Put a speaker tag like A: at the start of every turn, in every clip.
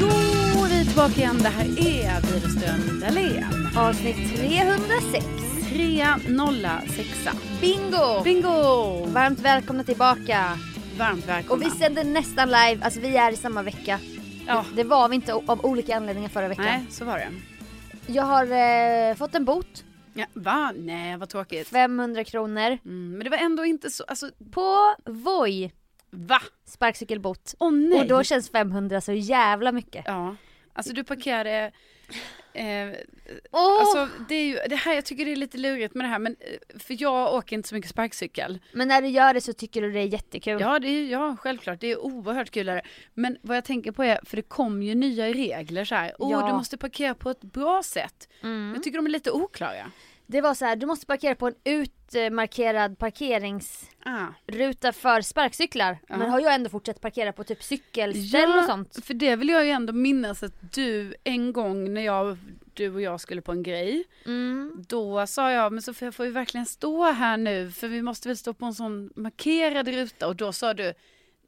A: Då är vi tillbaka igen. Det här är Widerström Dahlén.
B: Avsnitt 306.
A: 306.
B: Bingo!
A: Bingo!
B: Varmt välkomna tillbaka.
A: Varmt välkomna.
B: Och vi sänder nästan live, alltså vi är i samma vecka.
A: Ja.
B: Det var vi inte o- av olika anledningar förra veckan.
A: Nej, så var det.
B: Jag har eh, fått en bot,
A: Ja, va? Nej, vad tråkigt.
B: 500 kronor.
A: Mm, men det var ändå inte så... Alltså,
B: På Voi
A: va?
B: sparkcykelbot.
A: Åh nej!
B: Och då känns 500 så jävla mycket.
A: Ja. Alltså du parkerade... Eh,
B: Åh!
A: Alltså det är ju, det här, jag tycker det är lite lurigt med det här men, eh, för jag åker inte så mycket sparkcykel.
B: Men när du gör det så tycker du det är jättekul.
A: Ja, det är, ja, självklart. Det är oerhört kul. Där. Men vad jag tänker på är, för det kom ju nya regler så här. Åh,
B: Ja. Mm.
A: du måste parkera på ett bra sätt. Jag tycker de är lite oklara.
B: Det var så här, du måste parkera på en utmarkerad parkeringsruta
A: Ah.
B: för sparkcyklar. Men har jag ändå fortsatt parkera på typ cykelställ och sånt.
A: för det vill jag ju ändå minnas att du en gång när jag, du och jag skulle på en grej.
B: Mm.
A: Då sa jag, men Sofia får vi verkligen stå här nu för vi måste väl stå på en sån markerad ruta och då sa du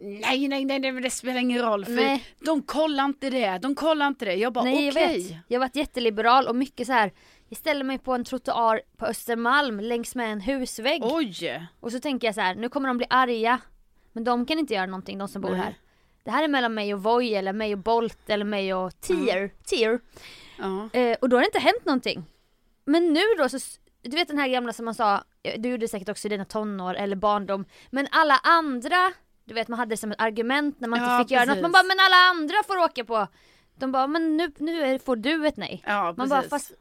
A: Nej, nej, nej, nej, men det spelar ingen roll för
B: Nej.
A: de kollar inte det, de kollar inte det. Jag bara
B: Nej
A: okej.
B: jag vet. Jag har varit jätteliberal och mycket så här. Jag ställer mig på en trottoar på Östermalm längs med en husvägg.
A: Oj!
B: Och så tänker jag så här, nu kommer de bli arga. Men de kan inte göra någonting, de som bor
A: Nej.
B: här. Det här är mellan mig och Voi eller mig och Bolt eller mig och Tier.
A: Mm.
B: Tier.
A: Ja.
B: Eh, och då har det inte hänt någonting. Men nu då så, s- du vet den här gamla som man sa, eh, du gjorde det säkert också i dina tonår eller barndom. Men alla andra, du vet man hade det som ett argument när man
A: Ja,
B: inte fick göra något.
A: precis.
B: Man bara, men alla andra får åka på. De bara, men nu, nu är- får du ett nej.
A: Ja,
B: Man bara,
A: precis.
B: fast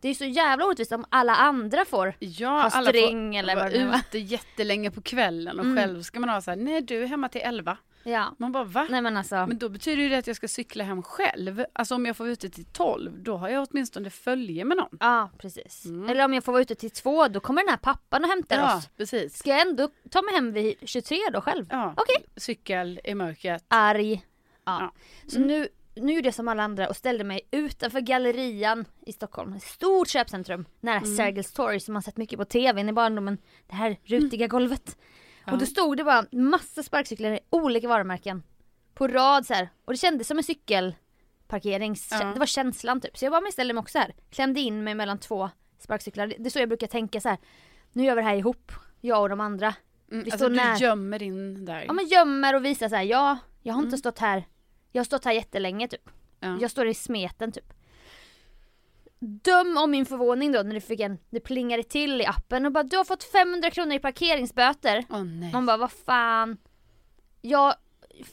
B: det är så jävla orättvist om alla andra får.
A: Ja,
B: Ha
A: alla
B: string
A: får
B: eller vad
A: vara
B: det nu var. Mm.
A: ute jättelänge på kvällen och själv ska man ha så här, nej du är hemma till elva.
B: Ja.
A: Man bara va?
B: Nej men alltså.
A: Men då betyder ju det att jag ska cykla hem själv. Alltså om jag får vara ute till 12, då har jag åtminstone följe med någon.
B: Ja precis. Eller om jag får vara ute till två då kommer den här pappan och hämtar
A: Mm. Ja,
B: oss.
A: precis.
B: Ska jag ändå ta mig hem vid 23 då själv?
A: Ja,
B: Okej.
A: cykel i mörkret.
B: Arg. Ja.
A: Ja. Mm.
B: Så nu, nu gjorde jag som alla andra och ställde mig utanför gallerian i Stockholm. Ett stort köpcentrum nära
A: Mm.
B: Sergels torg som man sett mycket på tv i barndomen. Det här rutiga golvet. Och då stod det bara massa sparkcyklar i olika varumärken. På rad så här. Och det kändes som en cykelparkerings...
A: Ja.
B: Det var känslan typ. Så jag bara men jag ställde mig också här. Klämde in mig mellan två sparkcyklar. Det det är så jag brukar tänka så här. Nu gör vi det här ihop. Jag och de andra.
A: Mm,
B: Vi
A: alltså
B: står
A: du
B: nära.
A: gömmer in där.
B: Ja men gömmer och visar så här, ja, jag har inte stått här, jag har stått här jättelänge typ.
A: Mm. Ja.
B: Jag står i smeten typ. Döm om min förvåning då när det, fick en, det plingade till i appen och bara du har fått 500 kronor i parkeringsböter.
A: Åh nej.
B: Man bara vad fan. Jag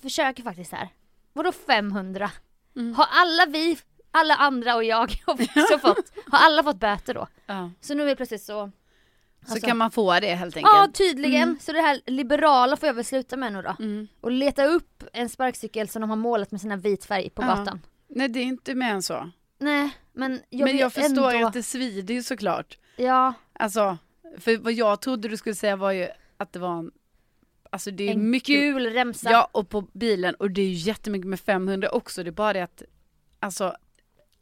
B: försöker faktiskt här. Vadå 500?
A: Mm.
B: Har alla vi, alla andra och jag har också fått, har alla fått böter då?
A: ja.
B: Så nu är plötsligt så
A: Så kan man få det helt enkelt.
B: Alltså-
A: Mm.
B: Ja tydligen, så det här liberala får jag väl sluta med nu då. Och leta upp en sparkcykel som de har målat med sina vit färg på
A: Ja.
B: gatan.
A: Nej det är inte mer än så.
B: Nej men jag
A: men
B: vill
A: jag förstår
B: ändå...
A: att det svider ju såklart.
B: Ja,
A: Alltså, för vad jag trodde du skulle säga var ju att det var en, alltså det är
B: en
A: mycket.
B: gul remsa.
A: Ja, och på bilen och det är ju jättemycket med 500 också. Det är bara det att, alltså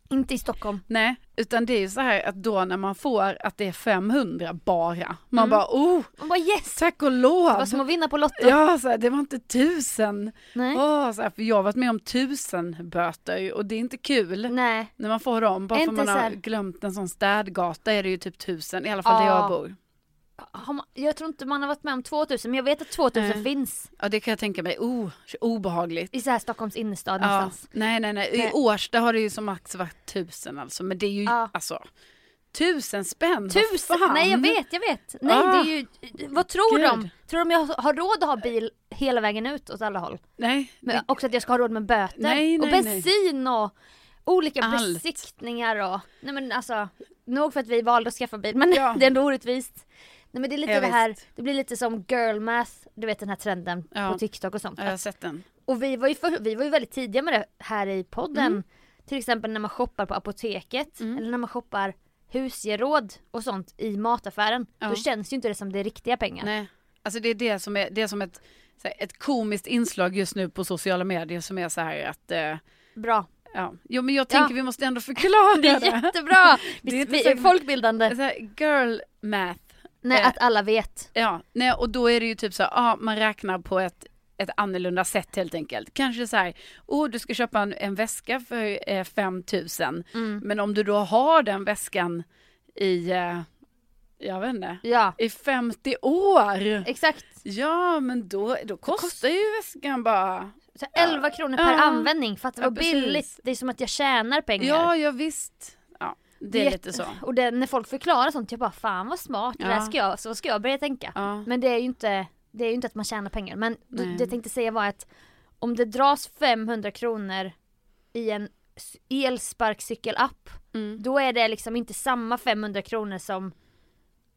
B: Inte i Stockholm.
A: nej, utan det är ju så här att då när man får att det är 500 bara,
B: Mm.
A: man bara oh,
B: Man bara yes!
A: tack och lov.
B: Det var som att vinna på Lotto.
A: Ja, så här, det var inte tusen.
B: Nej.
A: Åh, så här, för jag har varit med om tusen böter och det är inte kul.
B: Nej.
A: När man får dem, bara
B: Är
A: för
B: inte
A: man har
B: så här-
A: glömt en sån städgata är det ju typ tusen, i alla fall där
B: Ja.
A: jag bor.
B: Har man, jag tror inte man har varit med om 2000 men jag vet att 2000
A: Nej.
B: finns
A: Ja det kan jag tänka mig, oh, obehagligt.
B: i så här Stockholms innerstad
A: Ja.
B: någonstans.
A: Nej nej nej, i
B: Nej.
A: Årsta har det ju som max varit tusen alltså, men det är ju
B: Ja.
A: alltså tusen spänn, vad
B: Tusen!
A: fan?
B: Nej jag vet, jag vet. Nej
A: Ah.
B: det är ju, vad tror
A: Gud.
B: de? Tror de jag har råd att ha bil hela vägen ut åt alla håll?
A: Nej,
B: Men också att jag ska ha råd med böter
A: Nej,
B: och
A: nej, nej.
B: bensin och olika
A: Allt.
B: besiktningar och, nej men alltså, nog för att vi valde att skaffa bil men
A: Ja.
B: det är ändå orättvist. Nej men det är lite
A: Ja,
B: det här, det blir lite som girl math, du vet den här trenden
A: Ja.
B: på TikTok och sånt.
A: jag har sett den.
B: Och vi var, ju för, vi var ju väldigt tidiga med det här i podden.
A: Mm.
B: Till exempel när man shoppar på apoteket eller när man shoppar husgeråd och sånt i mataffären.
A: Ja.
B: Då känns ju inte det som det är riktiga pengar.
A: Nej. Alltså det är det som är, det är som ett, så här, ett komiskt inslag just nu på sociala medier som är så här att, eh,
B: Bra.
A: ja, jo men jag tänker
B: Ja.
A: vi måste ändå förklara
B: Det
A: det.
B: är jättebra!
A: Det är
B: Visst,
A: inte
B: vi
A: så-
B: är folkbildande.
A: Så här, girl math.
B: Nej,
A: eh,
B: att alla vet.
A: Ja, nej, och då är det ju typ så här, ja, man räknar på ett, ett annorlunda sätt helt enkelt. Kanske så här, åh du ska köpa en, en väska för eh, 5 000. Men om du då har den väskan i, eh, jag vet inte,
B: Ja,
A: i 50 år.
B: exakt.
A: Ja, men då, då kostar ju väskan bara.
B: Så 11 kronor per
A: Ja.
B: användning, för att det
A: Ja,
B: var
A: precis.
B: billigt. Det är som att jag tjänar pengar.
A: Ja, ja visst. Ja, det är
B: Jätte-
A: lite så.
B: Och det, när folk förklarar sånt, jag bara fan vad smart, det där
A: Ja.
B: ska jag, så ska jag börja tänka.
A: Ja.
B: Men det är ju inte, det är ju inte att man tjänar pengar. Men då,
A: Nej.
B: det jag tänkte säga var att om det dras 500 kronor i en s- elsparkcykelapp,
A: Mm.
B: då är det liksom inte samma 500 kronor som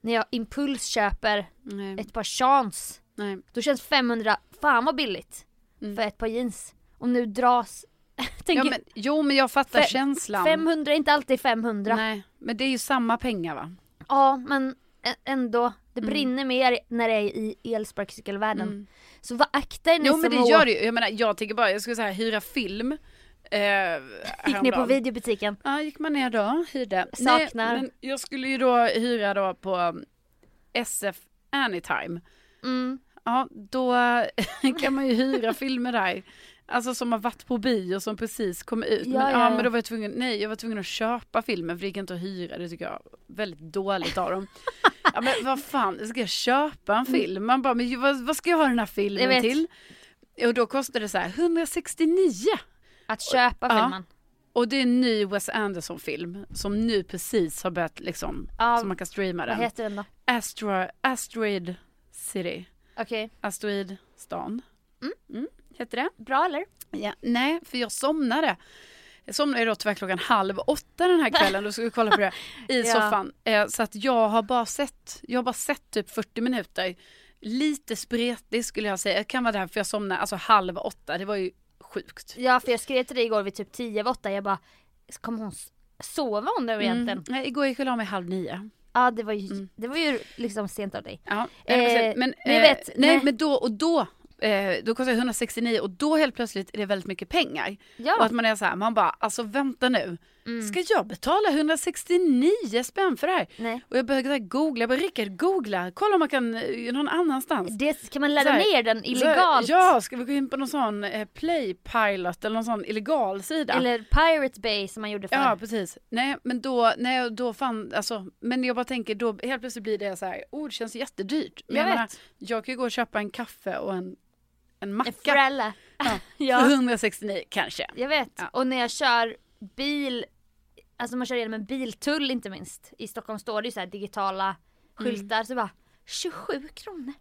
B: när jag impulsköper
A: Nej,
B: ett par chans.
A: nej.
B: Då känns 500, fan vad billigt, för ett par jeans. Och nu dras, tänker,
A: Mm. Ja, men, jo, men jag fattar
B: Fe-
A: känslan.
B: 500 är inte alltid 500.
A: Nej, men det är ju samma pengar va?
B: Ja men ä- ändå, det
A: Mm.
B: brinner mer när det är i elsparkcykelvärlden. Så vad akta er ni
A: Jo
B: som
A: men det
B: har-
A: gör det ju. Jag menar jag tänker bara, jag skulle säga hyra film. Eh,
B: gick ner på
A: häromdagen.
B: videobutiken.
A: Ja gick man ner då, hyrde.
B: Saknar.
A: Nej, men jag skulle ju då hyra då på um, SF Anytime.
B: Mm.
A: Ja då kan man ju hyra filmer där. Alltså som har varit på bio som precis kom ut.
B: Ja,
A: men,
B: ja, ja.
A: men då var jag tvungen, nej jag var tvungen att köpa filmen för det gick inte att hyra. Det tycker jag är väldigt dåligt av dem. Ja men vad fan, ska jag köpa en film? Man bara, men ju- vad, vad ska jag ha den här
B: Jag
A: filmen
B: vet.
A: till? Och då kostade det så här 169.
B: Att köpa
A: Ja.
B: filmen.
A: Och det är en ny Wes Anderson-film som nu precis har börjat liksom,
B: Ja,
A: så man kan streama
B: Vad
A: den.
B: heter den då?
A: Astra, Asteroid City.
B: Okej,
A: Asteroidstan. Mm, heter det.
B: bra eller?
A: Ja, nej, för jag somnade. Jag somnade ju då tyvärr klockan halv åtta den här kvällen, då skulle vi kolla på det i
B: Ja.
A: soffan. Eh, så att jag har bara sett, jag har bara sett typ 40 minuter. Lite spretig skulle jag säga, jag kan vara där för jag somnade alltså halv åtta, det var ju sjukt.
B: Ja för jag skrev till dig igår vid typ 10 över 8, jag bara kommer hon s- sova hon nu egentligen?
A: Mm, nej, igår gick jag och la mig halv nio.
B: Ja det var ju, det var ju liksom sent av dig.
A: Ja, nej, men,
B: Eh,
A: sen- men,
B: ni
A: eh,
B: vet,
A: nej,
B: nej.
A: men då och då, eh, då kostar det 169 och då helt plötsligt är det väldigt mycket pengar.
B: Ja. Mm.
A: Och att man är så här, man bara, alltså vänta nu, ska jag betala 169 spänn för det här?
B: Nej.
A: Och jag började så här googla, jag bara Rickard googla, kolla om man kan eh, någon annanstans.
B: Det, kan man ladda
A: Så här,
B: ner den
A: Så här,
B: illegalt?
A: Ja, ska vi gå in på någon sån eh, Playpilot eller någon sån illegal sida?
B: Eller Pirate Bay som man gjorde förr.
A: Ja precis. Nej men då, nej, då fan, alltså, men jag bara tänker då helt plötsligt blir det så här, oh det känns jättedyrt. Men
B: Jag vet.
A: menar, jag kan ju gå och köpa en kaffe och en, en
B: En
A: macka
B: Fralla.
A: ja,
B: Ja.
A: för 169 kanske.
B: Jag vet.
A: Ja.
B: Och när jag kör bil, alltså man kör genom en biltull inte minst. I Stockholm står det ju så här digitala
A: Mm.
B: skyltar så bara 27 kronor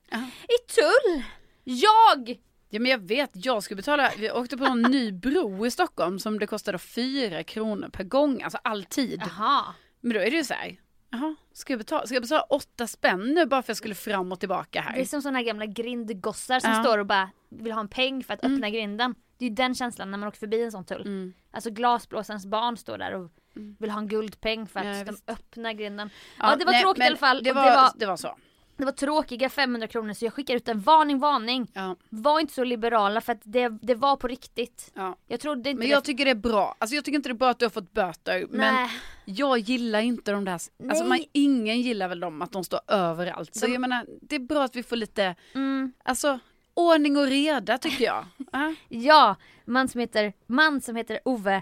B: i tull. Jag!
A: Ja men jag vet, jag skulle betala, vi åkte på en ny bro i Stockholm som det kostade 4 kronor per gång, alltså alltid.
B: Jaha.
A: Men då är det ju så här, jaha, ska jag betala, ska jag betala 8 spänn nu bara för att jag skulle fram och tillbaka här?
B: Det är som sådana här gamla grindgossar som
A: Ja.
B: står och bara vill ha en peng för att öppna grinden. Det är ju den känslan när man åker förbi en sån tull.
A: Mm.
B: Alltså glasblåsarens barn står där och
A: Mm.
B: vill ha en guldpeng för att
A: Ja,
B: de
A: visst.
B: öppnar grinden. Ja, det var
A: nej,
B: tråkigt i
A: men
B: alla fall.
A: Det
B: Och
A: var,
B: det var-
A: det var så.
B: Det var tråkiga 500 kronor så jag skickade ut en varning, varning.
A: Ja,
B: Var inte så liberala för att det, det var på riktigt.
A: ja.
B: Jag trodde inte
A: Men
B: det-
A: jag tycker det är bra. Alltså jag tycker inte det är bra att du har fått böter. Men
B: Nej.
A: jag gillar inte de där. Alltså
B: Nej.
A: man, ingen gillar väl dem att de står överallt. Så
B: De-
A: jag menar, det är bra att vi får lite,
B: Mm.
A: alltså ordning och reda tycker jag. Ja.
B: Ja, man som heter, man som heter Ove.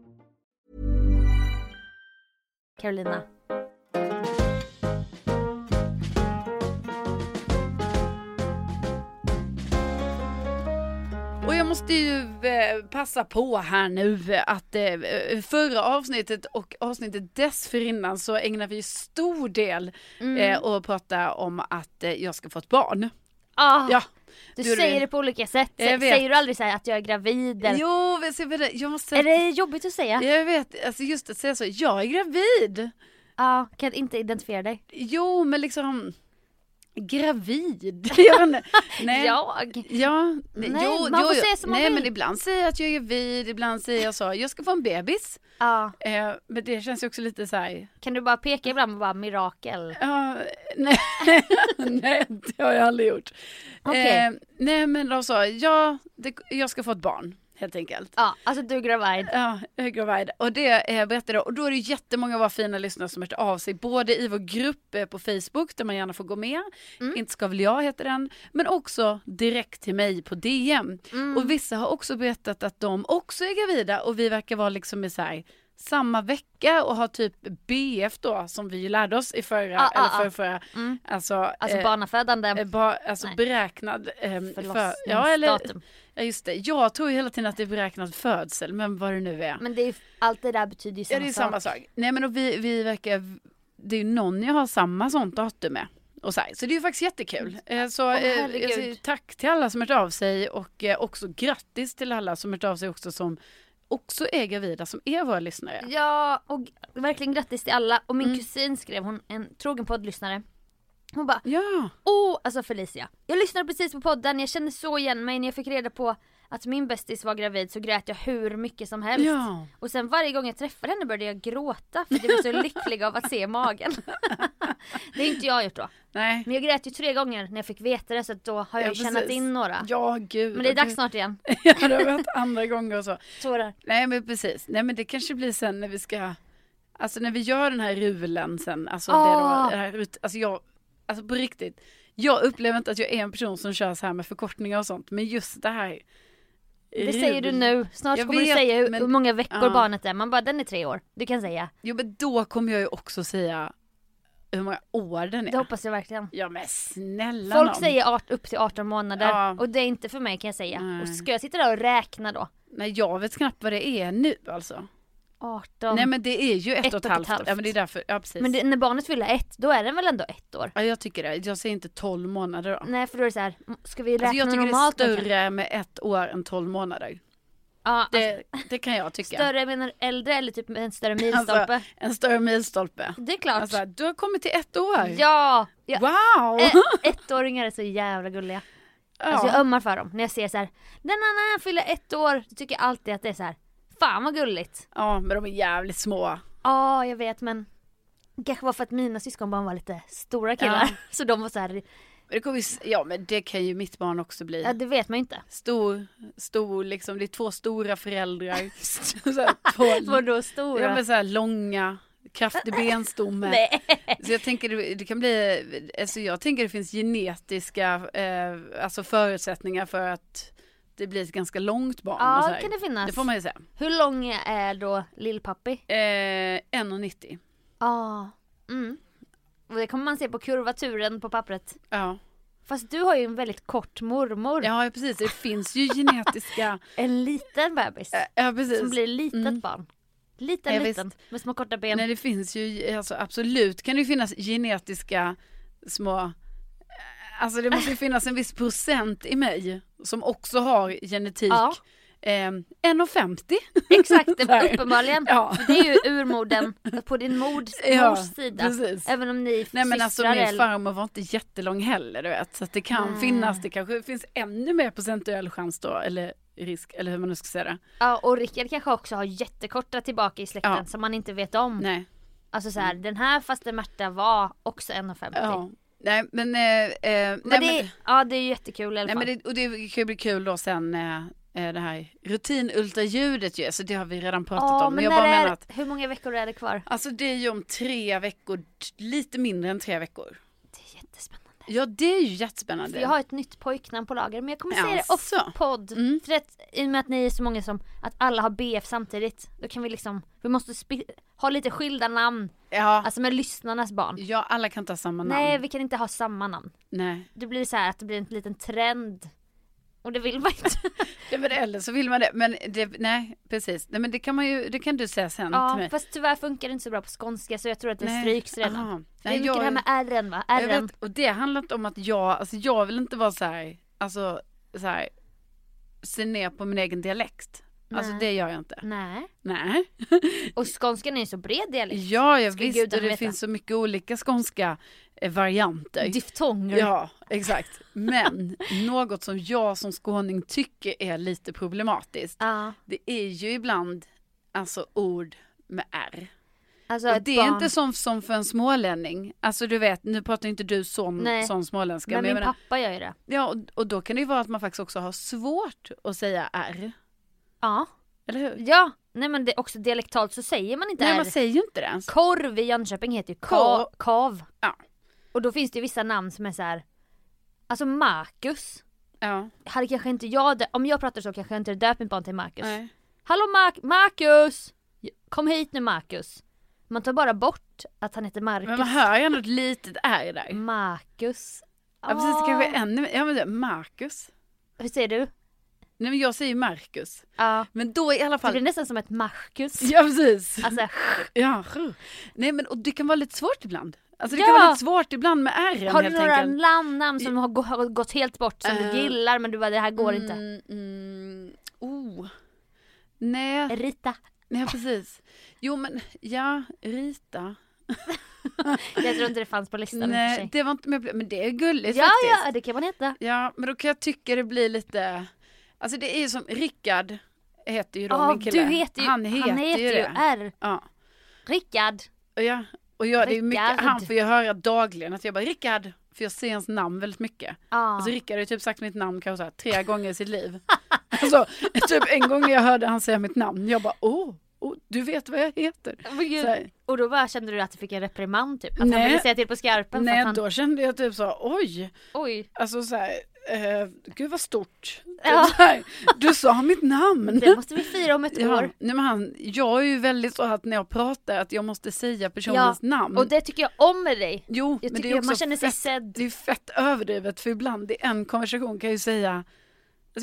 B: Carolina.
A: Och jag måste ju eh, passa på här nu eh, att eh, förra avsnittet och avsnittet dessförinnan så ägnade vi ju stor del
B: Mm.
A: eh, åt att prata om att eh, jag ska få ett barn.
B: Ah,
A: Ja.
B: du,
A: du-
B: säger det på olika sätt.
A: Jag vet.
B: Säger du aldrig så här att jag är gravid? Eller...
A: Jo, vi ser vad det- jag måste
B: Är det jobbigt att säga? Ja,
A: Jag vet, alltså just att säga så, jag är gravid.
B: kan jag inte identifiera dig.
A: Jo, men liksom gravid. Jag vet inte. Nej.
B: Jag?
A: Ja, nej,
B: Nej,
A: jo,
B: man
A: jo,
B: får
A: jo.
B: säga som man
A: Nej,
B: vill.
A: men ibland säger jag att jag är gravid, ibland säger jag så, jag ska få en bebis.
B: Ja.
A: Eh, men det känns ju också lite så här,
B: Kan du bara peka ibland och bara mirakel?
A: ja, nej, nej, det har jag aldrig gjort. Eh,
B: Okej.
A: nej, men de sa, ja, det, jag ska få ett barn, helt enkelt.
B: Ja, alltså du är gravid.
A: Ja, jag är gravid. Och det eh, berättade jag. Och då är det jättemånga av våra fina lyssnare som hört av sig. Både i vår grupp eh, på Facebook där man gärna får gå med.
B: Mm.
A: Inte ska väl jag heter den. Men också direkt till mig på DM.
B: Mm.
A: Och vissa har också berättat att de också är gravida. Och vi verkar vara liksom i så här samma vecka och har typ BF då som vi ju lärde oss i förra,
B: Ah, ah,
A: eller förra,
B: ah.
A: förra. Alltså,
B: Alltså
A: eh,
B: barnafödande.
A: eh, ba, alltså
B: Nej.
A: beräknad eh, för, ja, eller,
B: Förlossningsdatum.
A: ja just det, jag tror ju hela tiden att det är beräknad födsel men vad det nu är.
B: Men det är, ju- allt det där betyder ju samma,
A: Ja det är samma sak. Nej men och vi, vi verkar, det är ju någon jag har samma sånt datum med. Och så, här, så det är ju faktiskt jättekul. Eh, Så eh,
B: Mm. herregud.
A: jag säger tack till alla som hört av sig och eh, också grattis till alla som hört av sig också som också är gravida som är våra lyssnare.
B: Ja, och verkligen grattis till alla. Och min
A: Mm.
B: kusin skrev, hon en trogen poddlyssnare. Hon bara,
A: Ja,
B: åh, alltså Felicia. Jag lyssnade precis på podden, jag känner så igen mig. När jag fick reda på att min bästis var gravid så grät jag hur mycket som helst.
A: ja.
B: Och sen varje gång jag träffade henne började jag gråta för att jag var så lycklig av att se magen. det är inte jag gjort då.
A: Nej.
B: Men jag grät ju tre gånger när jag fick veta det så att då har jag
A: Ja,
B: ju tjänat
A: precis.
B: in några.
A: Ja gud.
B: Men det är dags snart igen.
A: Ja det har varit andra gånger och så.
B: Tårar.
A: Nej men precis, nej men det kanske blir sen när vi ska, alltså när vi gör den här rulen sen, alltså, det
B: Ah.
A: då, det här, ut- alltså jag, alltså på riktigt, Jag upplever inte att jag är en person som kör så här med förkortningar och sånt, men just det här.
B: Det säger du nu. Snart
A: Jag
B: kommer du
A: vet,
B: säga hur,
A: men-
B: hur många veckor
A: ja.
B: barnet är. Man bara, den är tre år. Du kan säga.
A: Jo, men då kommer jag ju också säga hur många år den är.
B: Det hoppas jag verkligen.
A: Ja, men snälla
B: Folk
A: nån.
B: säger art, upp till 18 månader
A: Ja.
B: och det är inte för mig kan jag säga.
A: Nej.
B: Och ska jag sitta där och räkna då?
A: Nej, jag vet knappt vad det är nu alltså.
B: 18.
A: Nej, men det är ju ett, och ett halvt. år.
B: halvt.
A: Ja, men det är därför. Ja, precis.
B: Men det, när barnet fyller ett, då är den väl ändå ett år?
A: Ja, jag tycker det. Jag säger inte 12 månader då.
B: Nej för då är det så här, m- ska vi räkna
A: Alltså, jag tycker det är
B: normalt? då, kanske?
A: större med ett år än 12 månader.
B: Ja,
A: Det, det kan jag tycka.
B: Alltså, Större, jag menar äldre eller typ en större
A: Alltså,
B: milstolpe?
A: en större milstolpe.
B: det är klart.
A: Alltså, du har kommit till ett år.
B: ja! ja.
A: Wow!
B: Ä- Eh, ettåringar är så jävla gulliga. Alltså jag ömmar för dem. När jag ser så här, den andra fyller ett år, då tycker jag alltid att det är så här, fan vad gulligt.
A: ja, men de är jävligt små.
B: Ja, jag vet men det kanske var för att mina syskonbarn var lite stora killar.
A: Ja.
B: Så de var så här,
A: Men det kommer, ju s- ja, men det kan ju mitt barn också bli.
B: ja det vet man ju inte.
A: Stor, stor liksom, det är två stora föräldrar. så här, två,
B: Vadå stora?
A: ja, men så här långa, kraftig benstomme.
B: Nej.
A: Så jag tänker det, det kan bli, alltså jag tänker det finns genetiska eh, alltså förutsättningar för att det blir ett ganska långt barn.
B: Ja,
A: och så här.
B: kan det finnas.
A: Det får man ju säga.
B: Hur lång är då lillpappi?
A: Eh, 1,90.
B: Ja. Mm. Och det kommer man se på kurvaturen på pappret.
A: Ja.
B: Fast du har ju en väldigt kort mormor.
A: ja, precis. Det finns ju genetiska.
B: En liten bebis.
A: Ja, precis.
B: Som blir litet
A: Mm.
B: barn. Liten
A: Ja,
B: liten. Med små korta ben.
A: Nej, det finns ju, alltså, absolut kan det ju finnas genetiska små, alltså det måste ju finnas en viss procent i mig som också har genetik.
B: Ja.
A: Eh, 1,50.
B: Exakt,
A: Så här.
B: uppenbarligen.
A: Ja.
B: För Det är ju urmodern på din mors,
A: Ja,
B: mors sida.
A: precis.
B: Även om ni
A: Nej men alltså
B: systrar
A: min
B: eller...
A: farmor var inte jättelång heller du vet. Så att det kan finnas, det kanske finns ännu mer procentuell chans då. Eller risk, eller hur man nu ska säga det.
B: Ja, och Rickard kanske också har jättekorta tillbaka i släkten
A: Ja.
B: som man inte vet om.
A: Nej. Mm.
B: Alltså så här, den här faster Märta var också 1,50.
A: Ja. Nej men, eh, eh, nej,
B: Men
A: men,
B: det, Ja det är ju jättekul i alla
A: nej,
B: fall.
A: men det, och det kan ju bli kul då sen eh, eh, det här rutinultraljudet ju. Så det har vi redan pratat
B: Ja,
A: om. Men
B: men
A: jag
B: när
A: bara
B: är,
A: menar att
B: hur många veckor är det kvar?
A: Alltså det är ju om tre veckor, t- lite mindre än tre veckor.
B: Det är jättespännande.
A: Ja det är ju
B: För
A: jättespännande.
B: jag har ett nytt pojknamn på lager men jag kommer säga det
A: Jaså? Mm.
B: off podd. För att, i och med att ni är så många som, att alla har BF samtidigt. Då kan vi liksom, vi måste spi- ha lite skilda namn.
A: ja.
B: Alltså med lyssnarnas barn.
A: ja, alla kan ta samma namn.
B: Nej vi kan inte ha samma namn.
A: nej.
B: Det blir så här att det blir en liten trend. Och det vill man inte.
A: Ja, men eller så vill man det. Men det, nej, precis. Nej, men det kan man ju, det kan du säga sen till
B: ja
A: mig.
B: fast tyvärr funkar det inte så bra på skånska så jag tror att det
A: Nej.
B: stryks redan.
A: Aha.
B: Det är mycket
A: jag,
B: det här med R'n va?
A: jag
B: R'n.
A: vet, och det handlar inte om att jag, alltså jag vill inte vara så här, alltså så här, se ner på min egen dialekt. Alltså
B: Nej. Mm.
A: det gör jag inte.
B: Nej.
A: Nej.
B: Och skånskan är ju så bred dialekt.
A: Ja, jag
B: Ska
A: visst.
B: gudarna
A: Och det
B: veta.
A: finns så mycket olika skånska eh, varianter.
B: Diftonger.
A: Ja, exakt. Men något som jag som skåning tycker är lite problematiskt.
B: Ja.
A: Det är ju ibland alltså ord med R.
B: Alltså
A: Och
B: ett
A: det är
B: barn.
A: inte som, som för en smålänning. Alltså du vet, nu pratar inte du sån,
B: Nej.
A: sån småländska.
B: Men
A: jag
B: min
A: menar-
B: pappa gör ju det.
A: ja, och, och då kan det ju vara att man faktiskt också har svårt att säga R.
B: Ja.
A: Eller hur?
B: Ja. Nej men det, också dialektalt så säger man inte
A: Nej,
B: R.
A: man säger ju inte det ens.
B: Korv i Jönköping heter ju ka-
A: Korv.
B: kav.
A: Ja.
B: Och då finns det ju vissa namn som är så här. Alltså Marcus.
A: Ja,
B: Hade kanske inte jag, dö- om jag pratar så kanske jag inte döpt mitt barn till Marcus.
A: nej.
B: Hallå Mar- Marcus! Kom hit nu Marcus. Man tar bara bort att han heter Marcus.
A: Men man hör ju ändå ett litet R där.
B: Marcus.
A: Ja, precis. Det
B: Ah.
A: kanske är ännu Ja, men det, Marcus.
B: Hur säger du?
A: Nej, men jag säger Marcus.
B: Ja.
A: Men då i alla
B: Det blir
A: fall.
B: nästan som ett Marcus.
A: Ja, precis.
B: Alltså,
A: Ja. Nej men och det kan vara lite svårt ibland. Alltså det
B: Ja.
A: kan vara lite svårt ibland med R
B: har du
A: helt
B: några
A: enkelt.
B: namn, namn som har gå- har gått helt bort som
A: Eh.
B: du gillar men du bara det här går inte?
A: Mm, mm, oh. Nej,
B: Rita.
A: nej precis. Jo men ja, Rita.
B: Jag tror inte det fanns på listan i och för
A: Nej,
B: sig.
A: det var inte med, men det är gulligt
B: Ja,
A: faktiskt.
B: ja, det kan man heta.
A: Ja men då kan jag tycka det blir lite, alltså det är ju som Rickard heter ju då
B: Ja,
A: min kille.
B: du heter ju,
A: han heter, ju det.
B: R.
A: Ja.
B: Rickard.
A: Och ja, och jag, det är ju mycket,
B: Rickard.
A: han får ju höra dagligen att jag bara Rickard, för jag ser hans namn väldigt mycket.
B: Ja.
A: Alltså Rickard har ju typ sagt mitt namn kanske så här, tre gånger i sitt liv. Alltså, typ en gång när jag hörde han säga mitt namn, jag bara åh, oh, du vet vad jag heter.
B: Men gud.
A: Så här,
B: Och då bara kände du att du fick en reprimand typ? Att
A: Nej.
B: han ville säga till på skarpen? för
A: nej,
B: att han...
A: då kände jag typ så, oj,
B: Oj.
A: alltså så här, eh, gud vad stort. Typ
B: Ja.
A: Så här, du sa mitt namn.
B: Det måste vi fira om ett
A: Ja,
B: år.
A: nej men han, jag är ju väldigt så att när jag pratar att jag måste säga personens namn.
B: Och det tycker jag om med dig.
A: jo,
B: Jag
A: men det
B: tycker
A: är också
B: man känner sig
A: fett,
B: sedd.
A: Det är fett överdrivet för ibland i en konversation kan jag ju säga, alltså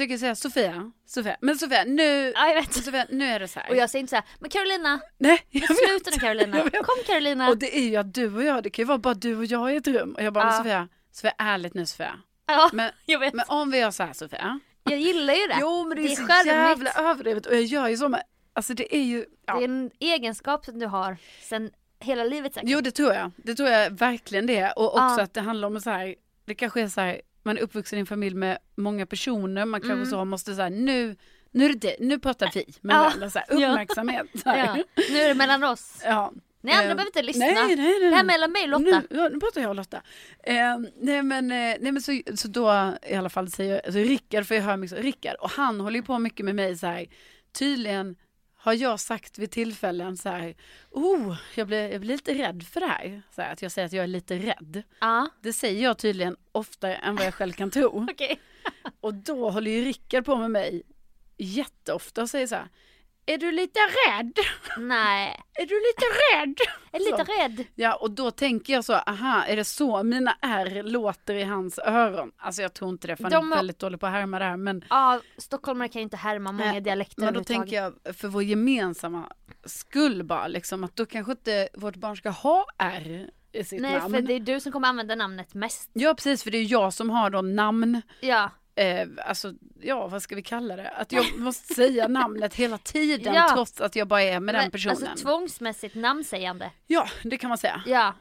A: jag kan ju säga Sofia, Sofia, men Sofia nu,
B: Ja, jag vet.
A: Sofia, nu är det så här.
B: Och jag säger inte så här, men Carolina,
A: nej, jag vet.
B: sluta nu Carolina,
A: Jag vet.
B: kom Carolina.
A: Och det är ju att du och jag, det kan ju vara bara du och jag i ett rum och jag bara, men Sofia, Sofia ärligt nu Sofia.
B: ja,
A: Men,
B: jag vet.
A: men om vi gör så här Sofia.
B: Jag gillar ju det.
A: Jo men det, är, så
B: charmigt.
A: jävla överdrivet och jag gör ju så med, alltså det är ju, ja.
B: Det är en egenskap som du har sen hela livet säkert.
A: Jo det tror jag, det tror jag verkligen det är. och också
B: Ja.
A: att det handlar om så här, det kanske är så här, man är uppvuxen i en familj med många personer, man kanske
B: Mm.
A: så måste så här, nu, nu är det dig, nu pratar vi med
B: Ja.
A: varandra, så här, uppmärksamhet. Så här.
B: ja. Nu är det mellan oss.
A: Ja.
B: Ni andra
A: Eh,
B: behöver inte lyssna.
A: Nej, nej, nej, nej.
B: Det här mellan mig och Lotta.
A: Nu, ja, nu pratar jag och Lotta. Eh, nej men, eh, nej, men så, så då i alla fall säger alltså, Rickard, för jag hör mycket så, Rickard, och han håller ju på mycket med mig så här, tydligen har jag sagt vid tillfällen så här, oh, jag blir, jag blir lite rädd för det här. Så här, att jag säger att jag är lite rädd.
B: Ja,
A: Det säger jag tydligen oftare än vad jag själv kan tro.
B: okej.
A: Och då håller ju Rickard på med mig jätteofta och säger så här, är du lite rädd?
B: Nej,
A: Är du lite rädd?
B: jag är lite rädd.
A: Ja, och då tänker jag så, aha, är det så mina R låter i hans öron? Alltså jag tror inte det, för han
B: De
A: är
B: har-
A: väldigt dålig på att härma det här, men...
B: Ja, stockholmare kan ju inte härma många
A: Nej,
B: dialekter
A: Men då tänker jag, för vår gemensamma skull bara, liksom, att då kanske inte vårt barn ska ha R i sitt
B: Nej,
A: namn.
B: för det är du som kommer använda namnet mest.
A: Ja, precis, för det är jag som har då namn,
B: Ja,
A: eh, alltså, ja, vad ska vi kalla det? Att jag måste säga namnet hela tiden,
B: Ja.
A: trots att jag bara är med den
B: men,
A: personen.
B: alltså tvångsmässigt namnsägande.
A: Ja, det kan man säga.
B: Ja,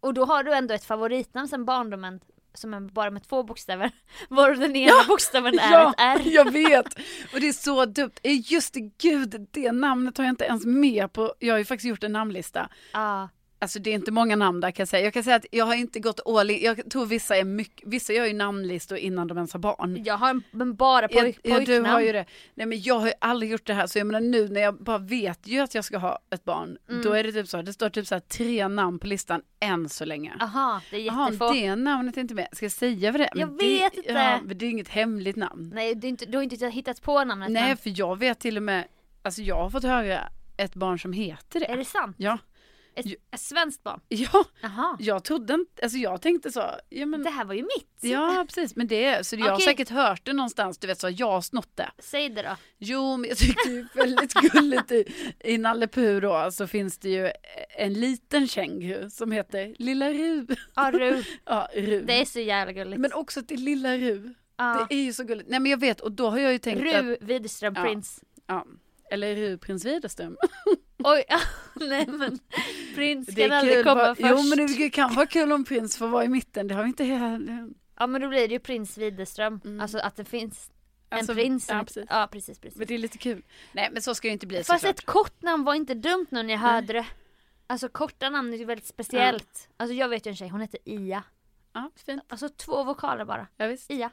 B: och då har du ändå ett favoritnamn sen barndomen som är bara med två bokstäver. Varav den ena bokstaven är
A: ja,
B: ett R.
A: jag vet. Och det är så dumt. Eh, Just det, gud, det namnet har jag inte ens med på. Jag har ju faktiskt gjort en namnlista.
B: Ja.
A: Alltså det är inte många namn där kan jag säga. Jag kan säga att jag har inte gått all in. Jag tror vissa är mycket, vissa gör ju namnlistor innan de ens har barn.
B: Jag har en, men bara poj,
A: ja,
B: pojknamn.
A: du har ju det. Nej men jag har ju aldrig gjort det här så jag menar nu när jag bara vet ju att jag ska ha ett barn.
B: Mm.
A: Då är det typ så, det står typ så här tre namn på listan än så länge.
B: Aha, det är
A: Jaha,
B: Ah, jättefå.
A: det namnet är inte med. Ska jag säga vad det är?
B: Jag
A: Men
B: vet
A: det,
B: inte.
A: Ja, men det är inget hemligt namn.
B: Nej, du, är inte, du har inte hittat på namnet.
A: Nej,
B: men-
A: för jag vet till och med, alltså jag har fått höra ett barn som heter det.
B: Är det sant?
A: Ja.
B: Ett, ett svenskt barn?
A: Ja,
B: Jaha.
A: jag trodde inte, alltså jag tänkte så, ja men,
B: Det här var ju mitt.
A: ja precis, men det, så jag har
B: Okej.
A: säkert hört det någonstans, du vet så, jag har snott det.
B: Säg det då.
A: Jo, men jag tyckte det var väldigt gulligt i, i Nalle Puh då, så finns det ju en liten känguru som heter Lilla Ru.
B: Ja, Ru.
A: Ja, Ru.
B: Det är så jävla gulligt.
A: Men också till Lilla Ru.
B: Ja.
A: Det är ju så gulligt. Nej men jag vet, och då har jag ju tänkt att,
B: Ru Widerström
A: Ja.
B: Prins.
A: ja, eller Ru Prins Widerström.
B: Oj, nej men. Prins
A: Det
B: kan
A: är
B: aldrig
A: kul
B: komma
A: bara-
B: först.
A: Jo men det kan vara kul om prins får vara i mitten. Det har vi inte heller.
B: Ja men då blir det ju Prins Widerström. Alltså att det finns en
A: Mm. Alltså,
B: prins. som
A: ja,
B: heter-
A: precis.
B: ja precis. precis.
A: Men det är lite kul. Nej men så ska det inte bli
B: Fast
A: såklart.
B: ett kort namn var inte dumt nu när jag hörde det. Alltså korta namn är ju väldigt speciellt. Alltså jag vet ju en tjej, hon heter Ia.
A: Ja, fint.
B: Alltså två vokaler bara.
A: Ja, visst.
B: Ia.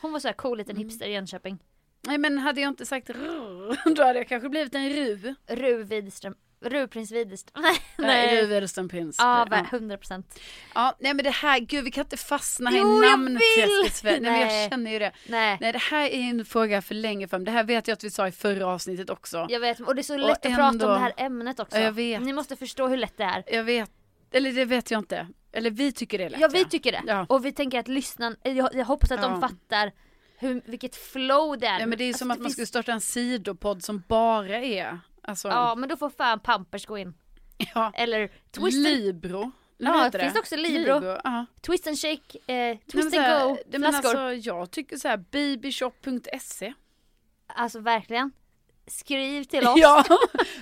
B: Hon var så här cool liten
A: Mm.
B: hipster i Jönköping.
A: Nej men hade jag inte sagt rrr, då hade jag kanske blivit en ru.
B: Ru Widerström. Ru Prins Widerström. Nej.
A: Nej. Ru
B: Nej.
A: Widerström prins.
B: Ja,
A: ja.
B: va- 100 procent.
A: ja, nej men det här, gud vi kan inte fastna här
B: Jo,
A: i
B: jag vill!
A: namnträsket. Sven. Nej men jag
B: Nej.
A: känner ju det.
B: Nej.
A: Nej det här är en fråga för länge fram. Det här vet jag att vi sa i förra avsnittet också.
B: Jag vet, och det är så lätt att
A: ändå-
B: prata om det här ämnet också.
A: Ja, jag vet.
B: Ni måste förstå hur lätt det är.
A: Jag vet, eller det vet jag inte. Eller vi tycker det är lätt.
B: Ja, vi tycker det.
A: Ja.
B: Och vi tänker att lyssnaren, eh, jag, jag hoppas att
A: Ja.
B: de fattar hur, vilket flow det är.
A: Nej men det är ju som
B: Alltså,
A: att man skulle
B: finns-
A: starta en sidopodd som bara är, alltså,
B: Ja, men då får fan Pampers gå in.
A: ja.
B: Eller Twist,
A: Libro. Eller
B: Ja,
A: vad heter
B: det finns också Libro.
A: ja.
B: twist and Shake, eh,
A: Nej, men
B: Twist
A: så
B: and
A: här,
B: Go,
A: det- men
B: flaskor. Alltså...
A: Alltså, jag tycker så här, babyshop.se.
B: Alltså, verkligen. Skriv till oss,
A: Ja,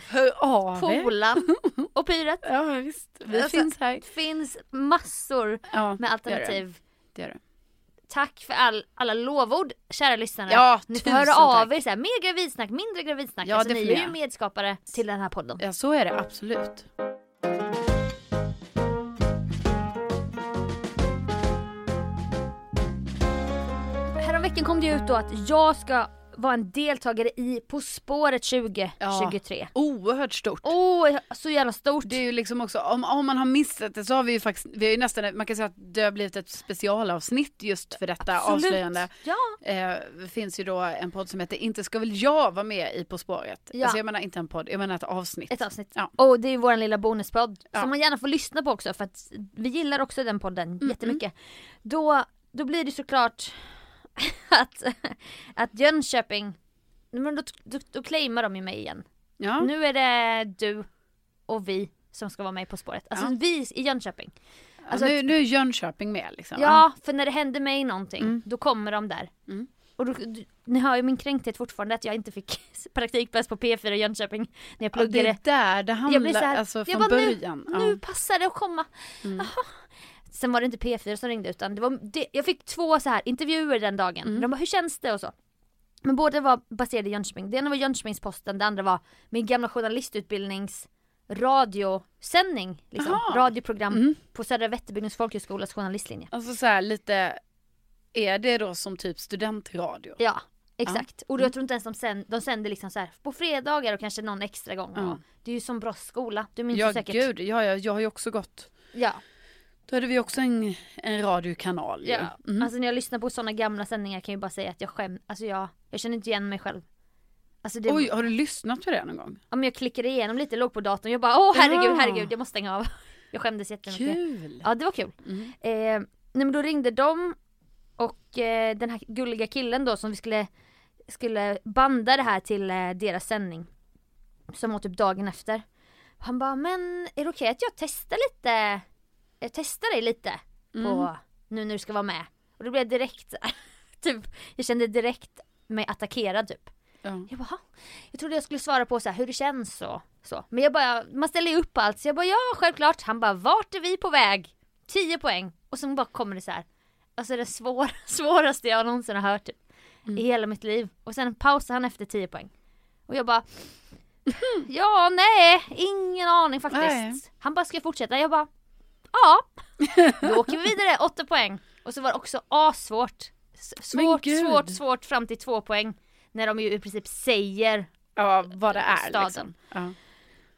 A: hör av er.
B: Polan och Pyret.
A: Ja, visst. Vi
B: Alltså,
A: finns här.
B: Det finns massor
A: Ja,
B: med
A: det gör det.
B: alternativ.
A: Det gör det.
B: Tack för all, alla lovord, kära lyssnare.
A: Ja,
B: Ni får
A: tusen
B: höra av
A: tack.
B: er så här, mer gravidsnack, mindre gravidsnack.
A: Ja,
B: alltså,
A: det
B: ni
A: får
B: är ju
A: jag.
B: medskapare till den här podden.
A: Ja, så är det absolut.
B: Häromveckan kom det ju ut då att jag ska var en deltagare i På spåret 2023.
A: Oerhört stort.
B: Åh, så jävla stort!
A: Det är ju liksom också, om, om man har missat det så har vi ju faktiskt, vi har ju nästan, man kan säga att det har blivit ett specialavsnitt just för detta
B: Absolut.
A: avslöjande.
B: Ja.
A: Eh, det finns ju då en podd som heter Inte ska väl jag vara med i På spåret.
B: Ja.
A: Alltså jag menar inte en podd, jag menar ett avsnitt.
B: Ett avsnitt.
A: Ja.
B: Och det är vår lilla bonuspodd
A: Ja.
B: som man gärna får lyssna på också för att vi gillar också den podden jättemycket. Då, då blir det såklart att, att Jönköping, men då, då, då claimar de ju mig igen.
A: Ja.
B: Nu är det du och vi som ska vara med På spåret. Alltså
A: Ja.
B: vi i Jönköping. alltså
A: nu, nu är Jönköping med liksom.
B: Ja, för när det händer mig någonting,
A: Mm.
B: då kommer de där. Och då, du, ni hör ju min kränkthet fortfarande att jag inte fick praktikplats på P4 i Jönköping när jag
A: Ja, det
B: pluggade.
A: är där det
B: jag blir
A: handlar,
B: så här,
A: alltså
B: jag
A: från
B: bara,
A: början.
B: Nu,
A: Ja. Mm.
B: nu passar det att komma. Jaha. Sen var det inte P4 som ringde utan det var, det, jag fick två så här intervjuer den dagen.
A: Mm.
B: De bara, hur känns det och så. Men båda var baserade i Jönköping. Det ena var Jönköpingsposten, det andra var min gamla journalistutbildnings radiosändning, liksom.
A: Jaha.
B: radioprogram
A: Mm.
B: på Södra Vätterbygdens folkhögskolas journalistlinje.
A: Alltså så här lite, är det då som typ studentradio?
B: Ja, exakt. Och
A: Mm.
B: jag tror inte ens de, sänd, de sänder liksom så här på fredagar och kanske någon extra gång.
A: Ja.
B: Det är ju som bra skola, du minns
A: Ja
B: ju säkert.
A: gud, ja, ja, jag har ju också gått.
B: Ja,
A: Då hade vi också en, en radiokanal ju. Mm.
B: ja. Alltså när jag lyssnar på sådana gamla sändningar kan jag ju bara säga att jag skäms, alltså jag, jag känner inte igen mig själv. Alltså det,
A: Oj, har du lyssnat på det någon gång?
B: ja, men jag klickade igenom lite, låg på datorn, jag bara åh herregud,
A: Ja.
B: herregud, jag måste stänga av. Jag skämdes jättemycket.
A: Kul!
B: Ja det var kul. Eh, nej men då ringde de och eh, den här gulliga killen då som vi skulle, skulle banda det här till eh, deras sändning. Som var typ dagen efter. Han bara, men är det okej att jag testar lite? Jag testar dig lite på nu när du ska vara med. Och då blev jag direkt så här, typ, jag kände direkt mig attackerad typ.
A: Ja.
B: Jag bara, "Ha." jag trodde jag skulle svara på så här, hur det känns och så. Men jag bara, man ställer ju upp allt. Så jag bara, ja självklart. Han bara, vart är vi på väg? 10 poäng. Och sen bara kommer det så här. Alltså det svår, svåraste jag någonsin har hört typ, i hela mitt liv. Och sen pausar han efter 10 poäng. Och jag bara, ja nej, ingen aning faktiskt.
A: Nej.
B: Han bara, ska jag fortsätta? Jag bara, ja. Då åker vi vidare, 8 poäng. Och så var det också assvårt. S-
A: Men
B: Svårt,
A: gud.
B: svårt, svårt fram till 2 poäng. När de ju i princip säger
A: ja, vad det är
B: Staden.
A: liksom. Ja.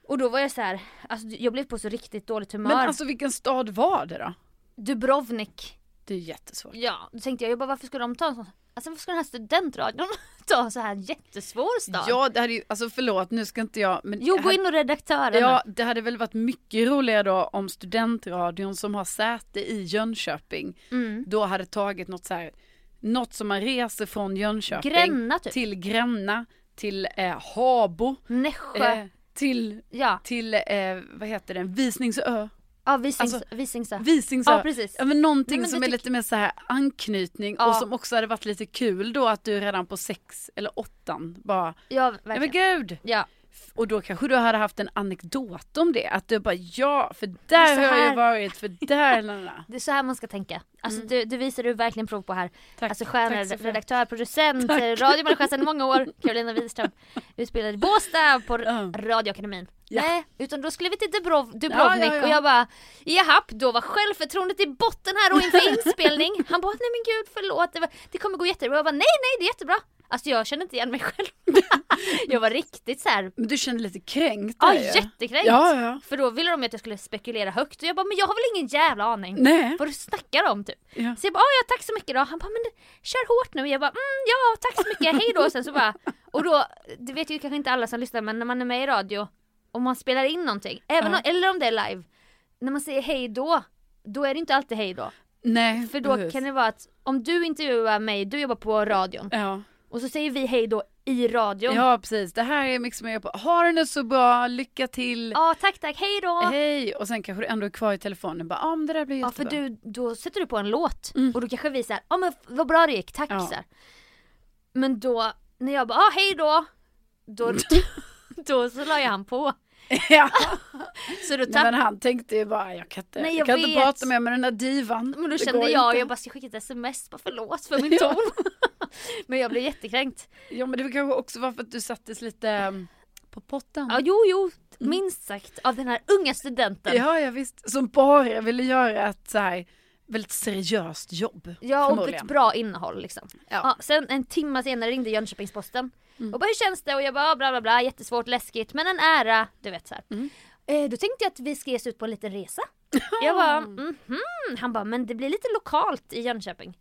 B: och då var jag så här, alltså jag blev på så riktigt dåligt humör.
A: Men alltså vilken stad var det då?
B: Dubrovnik.
A: Det är jättesvårt.
B: Ja, då tänkte jag, jag bara varför ska de ta en sån, alltså varför ska den här studentradion ta en så här jättesvår stad?
A: Ja, det hade ju, alltså förlåt nu ska inte jag, men
B: jo,
A: jag
B: gå
A: hade-
B: in och redaktören.
A: Ja, det hade väl varit mycket roligare då om studentradion som har säte i Jönköping
B: Mm.
A: då hade tagit något så här, något som man reser från Jönköping
B: Gränna, typ.
A: till Gränna, till eh, Habo,
B: Nässjö.
A: eh, till,
B: ja,
A: till eh, vad heter den, Visingsö.
B: ja Visings,
A: alltså,
B: Visingsö.
A: Visingsö.
B: Ja, precis.
A: Ja, men någonting
B: Nej, men
A: som
B: det
A: är
B: tyck-
A: lite mer så här anknytning
B: Ja.
A: och som också hade varit lite kul då att du redan på sex eller åttan bara,
B: ja,
A: nej men
B: verkligen.
A: gud.
B: Ja,
A: Och då kanske du hade haft en anekdot om det, att du bara ja, för där
B: Så
A: har jag
B: här.
A: ju varit, för där, la, la, la.
B: det är så här man ska tänka. Alltså du, du visar du verkligen prov på här.
A: Mm. Tack.
B: alltså
A: Tack så
B: stjärnredaktör,
A: mycket.
B: redaktör, producent, eh, radiomänniska sedan många år, Carolina Widerström. Utbildad i Båstad på
A: Ja.
B: Radioakademin.
A: Ja.
B: Nej, utan då skulle vi till Dubrov, Dubrovnik
A: ja, ja.
B: och jag bara Jahapp, då var självförtroendet i botten här och inför inspelning. Han bara nej men gud förlåt, det, var, det kommer gå jättebra. Jag bara nej nej det är jättebra. Alltså jag känner inte igen mig själv. jag var riktigt så här
A: Men du kände lite kränkt
B: Ja,
A: där ju.
B: jättekränkt.
A: Ja, ja.
B: För då ville de ju att jag skulle spekulera högt och jag bara, men jag har väl ingen jävla aning
A: Nej.
B: vad du snackar om typ.
A: Ja.
B: Så jag bara, "Ah, ja tack så mycket då. Han bara, men kör hårt nu. Jag bara, mm, ja tack så mycket, hej då. Och Sen så bara, och då, det vet ju kanske inte alla som lyssnar men när man är med i radio, om man spelar in någonting, även om, eller om det är live, när man säger hej då, då är det inte alltid hej då.
A: Nej,
B: För då
A: precis.
B: kan det vara att om du intervjuar mig, du jobbar på radion,
A: Ja.
B: och så säger vi hej då i radion. Ja,
A: ja, precis. Det här är Mix med på. Har du det så bra, lycka till,
B: tack tack, hej då.
A: hej. Och sen kanske du ändå är kvar i telefonen. Bara, ah, men det där blir
B: Ja för
A: jättebra. Mm.
B: du, då sätter du på en låt och då kanske vi säger ja men f- vad bra det gick, tack
A: Ja.
B: så här. Men då, när jag bara, ah, hej då, då, då så la jag han på.
A: Ja.
B: Så då
A: Nej,
B: tappade
A: men han tänkte ju bara, jag kan inte,
B: Nej,
A: jag
B: jag
A: kan inte
B: vet.
A: prata mer med den där divan.
B: men då
A: Det
B: kände
A: går
B: jag,
A: inte.
B: jag bara ska jag skicka ett sms, bara förlåt för min ton. men jag blev jättekränkt.
A: Ja, men det var kanske också var för att du sattes lite ehm, på potten.
B: Ja jo jo,
A: Mm.
B: minst sagt av den här unga studenten.
A: Ja, ja visst. Som bara ville göra ett så här väldigt seriöst jobb.
B: Ja och ett
A: förmodligen.
B: bra innehåll liksom. Ja.
A: Ja. Mm.
B: sen en timme senare ringde Jönköpingsposten och bara hur känns det? Och jag bara "Ah, bla bla bla, jättesvårt, läskigt men en ära, du vet så här.
A: Mm.
B: Eh, då tänkte jag att vi ska ge oss ut på en liten resa. jag bara mhm, han bara men det blir lite lokalt i Jönköping.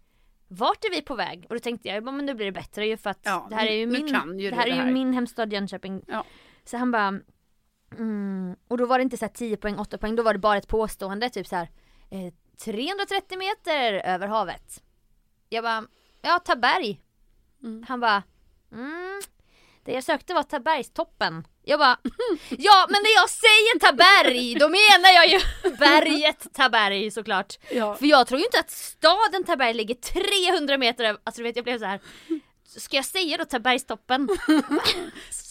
B: Vart är vi på väg? Och då tänkte jag, jag bara, men nu blir det bättre ju för att
A: Ja,
B: det här är ju
A: nu
B: min,
A: kan ju
B: det
A: du
B: här
A: det
B: är ju
A: här.
B: min hemstad Jönköping.
A: Ja.
B: Så han bara mm, och då var det inte så här 10 poäng, 8 poäng, då var det bara ett påstående typ så här eh, 330 meter över havet. Jag bara, ja Taberg. Han bara, mm, det jag sökte var Tabergstoppen. Jag bara, ja men när jag säger Taberg då menar jag ju berget Taberg såklart.
A: Ja.
B: För jag tror ju inte att staden Taberg ligger 300 meter över, alltså du vet jag blev så här. Ska jag säga då Tabergstoppen?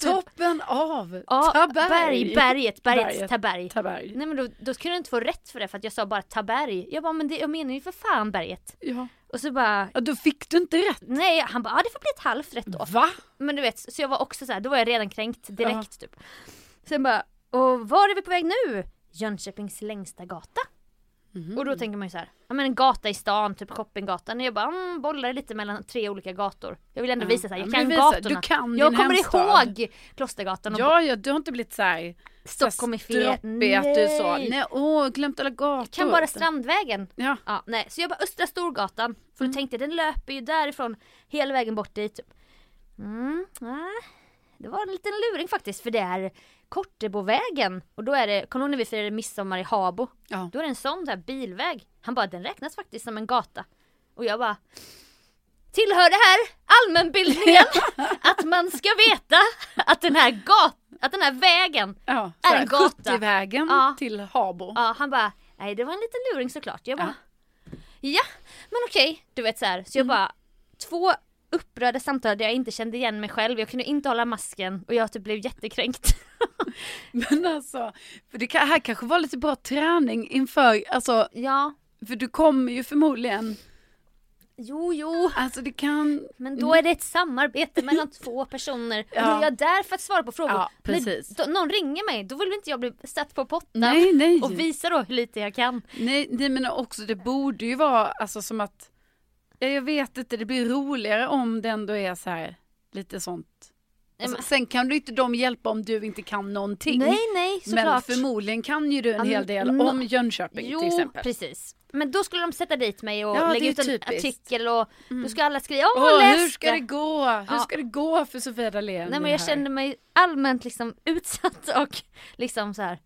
A: Toppen av
B: typ. Ja,
A: Taberg.
B: berg, berget, berget,
A: Berget.
B: Taberg.
A: Taberg.
B: Nej men då, då kunde jag inte få rätt för det för att jag sa bara Taberg. Jag bara men det, jag menar ju för fan berget.
A: Ja.
B: Och så bara,
A: ja, då fick du inte rätt.
B: nej han bara ja, det får bli ett halvt rätt då.
A: Va?
B: Men du vet, så jag var också så här, då var jag redan kränkt direkt
A: Ja.
B: typ. Sen bara, och var är vi på väg nu? Jönköpings längsta gata.
A: Mhm.
B: Och då tänker man ju så här, ja men en gata i stan, typ shoppinggatan. Och jag bara mm, bollar lite mellan tre olika gator. Jag vill ändå visa så här,
A: Ja,
B: jag
A: men
B: kan
A: du visar,
B: gatorna.
A: du kan
B: jag
A: din
B: kommer
A: hemstad.
B: ihåg Klostergatan och
A: Ja, ja, du har inte blivit så här
B: Stockholm är fel.
A: stroppig att du sa
B: Nej.
A: nej, åh, glömt alla gator.
B: kan bara Strandvägen.
A: Ja. Mm.
B: Ja, nej. Så jag bara Östra Storgatan. För då tänkte jag den löper ju därifrån hela vägen bort dit. Typ. Mm, ja. Det var en liten luring faktiskt för det är Kortebovägen. Och då är det, kommer du ihåg när vi firade midsommar i Habo?
A: Ja.
B: Då är det en sån där bilväg. Han bara den räknas faktiskt som en gata. Och jag bara Tillhör det här allmänbildningen att man ska veta att den här gat, att den här vägen
A: Ja,
B: Är
A: så
B: en
A: här,
B: gata.
A: 70-vägen
B: Ja.
A: till Habo.
B: Ja, han bara, nej det var en liten luring såklart. Jag bara, ja, men okej, du vet så här. Så jag
A: Mm.
B: bara, två upprörda samtal där jag inte kände igen mig själv, jag kunde inte hålla masken och jag typ blev jättekränkt.
A: Men alltså, för det kan, här kanske var lite bra träning inför, alltså,
B: ja,
A: för du kommer ju förmodligen,
B: jo jo,
A: alltså det kan,
B: Oh.
A: Mm.
B: men då är det ett samarbete mellan två personer och då är
A: Ja.
B: jag där för att svara på frågor.
A: Ja,
B: När
A: precis.
B: då, någon ringer mig, då vill inte jag bli satt på pottan
A: Nej, nej.
B: och visa då hur lite jag kan.
A: nej, nej men också det borde ju vara, alltså som att, ja, jag vet inte, det blir roligare om det ändå är så här, lite sånt. Alltså,
B: men-
A: sen kan du inte de hjälpa om du inte kan någonting.
B: Nej nej, såklart.
A: Men förmodligen kan ju du
B: Ja,
A: en hel del
B: men-
A: om Jönköping
B: Jo,
A: till exempel.
B: precis. Men då skulle de sätta dit mig och
A: Ja, det är
B: lägga
A: ju
B: ut en
A: typiskt. Mm.
B: artikel och då ska alla skriva åh,
A: Åh,
B: läs
A: hur ska det gå? Hur
B: Ja.
A: ska det gå för Sofia Dalén?
B: Nej
A: i det
B: men jag
A: här?
B: kände mig allmänt liksom utsatt och liksom så här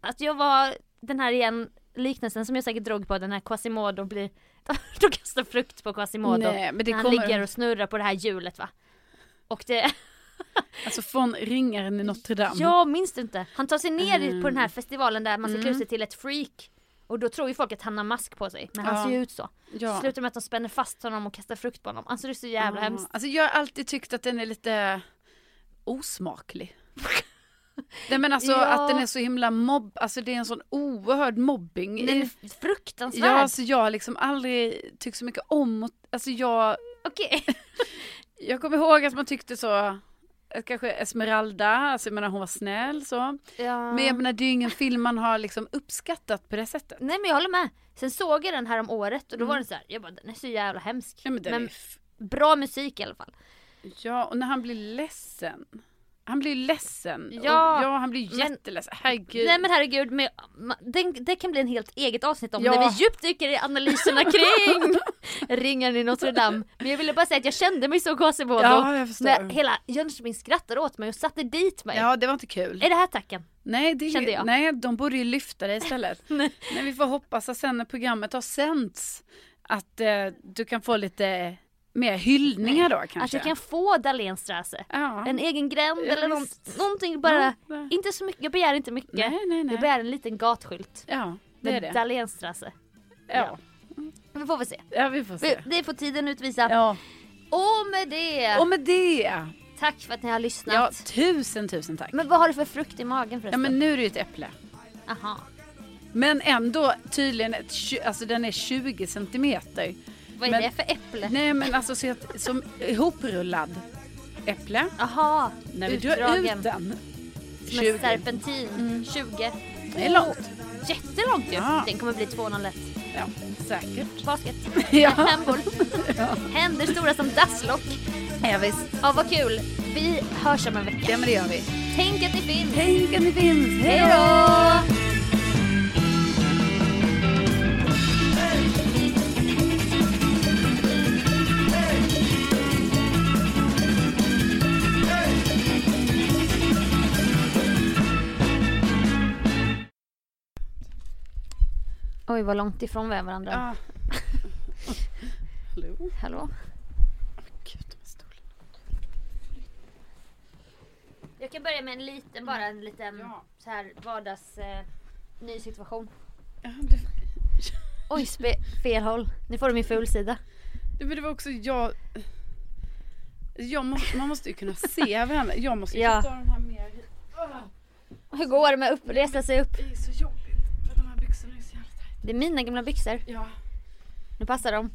B: att jag var den här igen liknelsen som jag säkert drog på den här Quasimodo blir de kastar frukt på Quasimodo
A: Nej, men det
B: när han
A: kommer-
B: ligger och snurrar på det här hjulet va. Och det,
A: Alltså från ringaren i Notre Dame.
B: jag minns det inte. Han tar sig ner i- på den
A: Mm.
B: här festivalen där man ska klä ut sig till ett freak. Och då tror ju folk att han har mask på sig, men han
A: Ja.
B: ser ju ut så.
A: Ja.
B: Slutar med att de spänner fast honom och kastar frukt på honom. Alltså det är så jävla
A: Ja.
B: hemskt.
A: Alltså jag har alltid tyckt att den är lite osmaklig. Nej men alltså
B: Ja.
A: att den är så himla mobb, alltså det är en sån oerhörd mobbing.
B: Den
A: I...
B: är fruktansvärd.
A: Ja, alltså jag har liksom aldrig tyckt så mycket om och... alltså jag,
B: Okej.
A: jag kommer ihåg att man tyckte så, att kanske Esmeralda, alltså jag menar hon var snäll så.
B: Ja.
A: Men jag menar det är ju ingen film man har liksom uppskattat på det sättet.
B: Nej men jag håller med. Sen såg jag den här om året och då var den så här, jag bara den är så jävla hemsk.
A: Mm. Ja, men den är
B: bra musik i alla fall.
A: Ja, och när han blir ledsen. Han blir ledsen.
B: Ja,
A: och, ja han blir
B: men-
A: jätteledsen. Herregud.
B: Nej men herregud, men, ma- den, det kan bli en helt eget avsnitt om
A: Ja.
B: när vi djupdyker i analyserna kring ringen i Notre Dame. Men jag ville bara säga att jag kände mig så Quasimodo.
A: Ja, jag förstår.
B: när hela Jönköping skrattade åt mig och satte dit mig.
A: Ja, det var inte kul.
B: Är det här tacken?
A: Nej, det,
B: Kände jag.
A: nej, de borde ju lyfta dig istället.
B: Nej.
A: Men vi får hoppas att sen när programmet har sänts att eh, du kan få lite mer hyllningar då kanske.
B: Att jag kan få Dahlénstrasse.
A: Ja.
B: En egen gränd
A: Ja,
B: eller någon,
A: visst.
B: någonting bara,
A: Ja.
B: inte så mycket, jag begär inte mycket.
A: Nej, nej, nej.
B: Jag begär en liten gatskylt.
A: Ja, det är
B: Med
A: det.
B: Dahlénstrasse.
A: Ja.
B: Vi får väl se.
A: ja, vi får
B: Vi-
A: se.
B: Det får tiden utvisa.
A: Ja.
B: Och med det,
A: Och med det.
B: tack för att ni har lyssnat.
A: Ja, tusen, tusen tack.
B: Men vad har du för frukt i magen
A: Ja,
B: förresten?
A: men nu är det ju ett äpple.
B: Aha.
A: Men ändå tydligen, ett, tju- alltså den är 20 centimeter.
B: Vad är
A: Men-
B: det för äpple?
A: Nej men alltså så att, som ihoprullad äpple.
B: Aha,
A: När vi drar
B: utdragen.
A: ut den.
B: Som en serpentin. 20.
A: Det är långt.
B: jättelångt ju.
A: Mm. Ja.
B: Den kommer bli 2-0 lätt.
A: Ja, säkert.
B: Basket.
A: Ja.
B: Handboll. Händer stora som dasslock.
A: Ja, visst.
B: Ja, vad kul. Vi hörs om en vecka.
A: Ja, men det gör vi.
B: Tänk att ni finns.
A: Tänk att ni finns. Hej
B: Hej
A: då!
B: då! Oj, vad långt ifrån vi är varandra.
A: Ja. Hallå?
B: Hallå?
A: Gud, de här stolarna.
B: Jag kan börja med en liten, bara en liten
A: Ja.
B: så här vardags eh, ny situation.
A: Ja, det,
B: Oj, spe- fel håll. Nu får du min fulsida.
A: det, men det var också jag... jag må, man måste ju kunna se varandra. Jag måste ju
B: Ja.
A: ta den här mer... Åh,
B: Hur går det med upp, resa sig upp?
A: det är så jobbigt. För de här byxorna är så jävla tajta.
B: Det är mina gamla byxor.
A: Ja.
B: Nu passar de.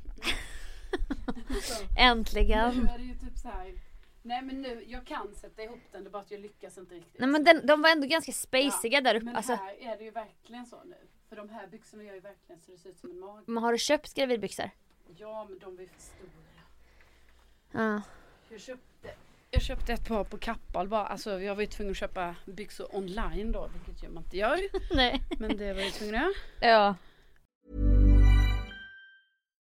B: Äntligen.
A: Nu är det ju typ så här. Nej men nu, jag kan sätta ihop den. Det är bara att jag lyckas inte riktigt.
B: Nej men den, de var ändå ganska spaciga där uppe.
A: Men
B: Alltså,
A: här är det ju verkligen så nu. För de här byxorna gör ju verkligen så det ser ut som en mage.
B: men har du köpt gravidbyxor?
A: Ja men de är för stora.
B: Ja.
A: Jag köpte, jag köpte ett par på Kappahl bara. Alltså jag var ju tvungen att köpa byxor online då. Vilket ju man inte gör.
B: Nej.
A: Men det var ju tvungen att göra.
B: Ja.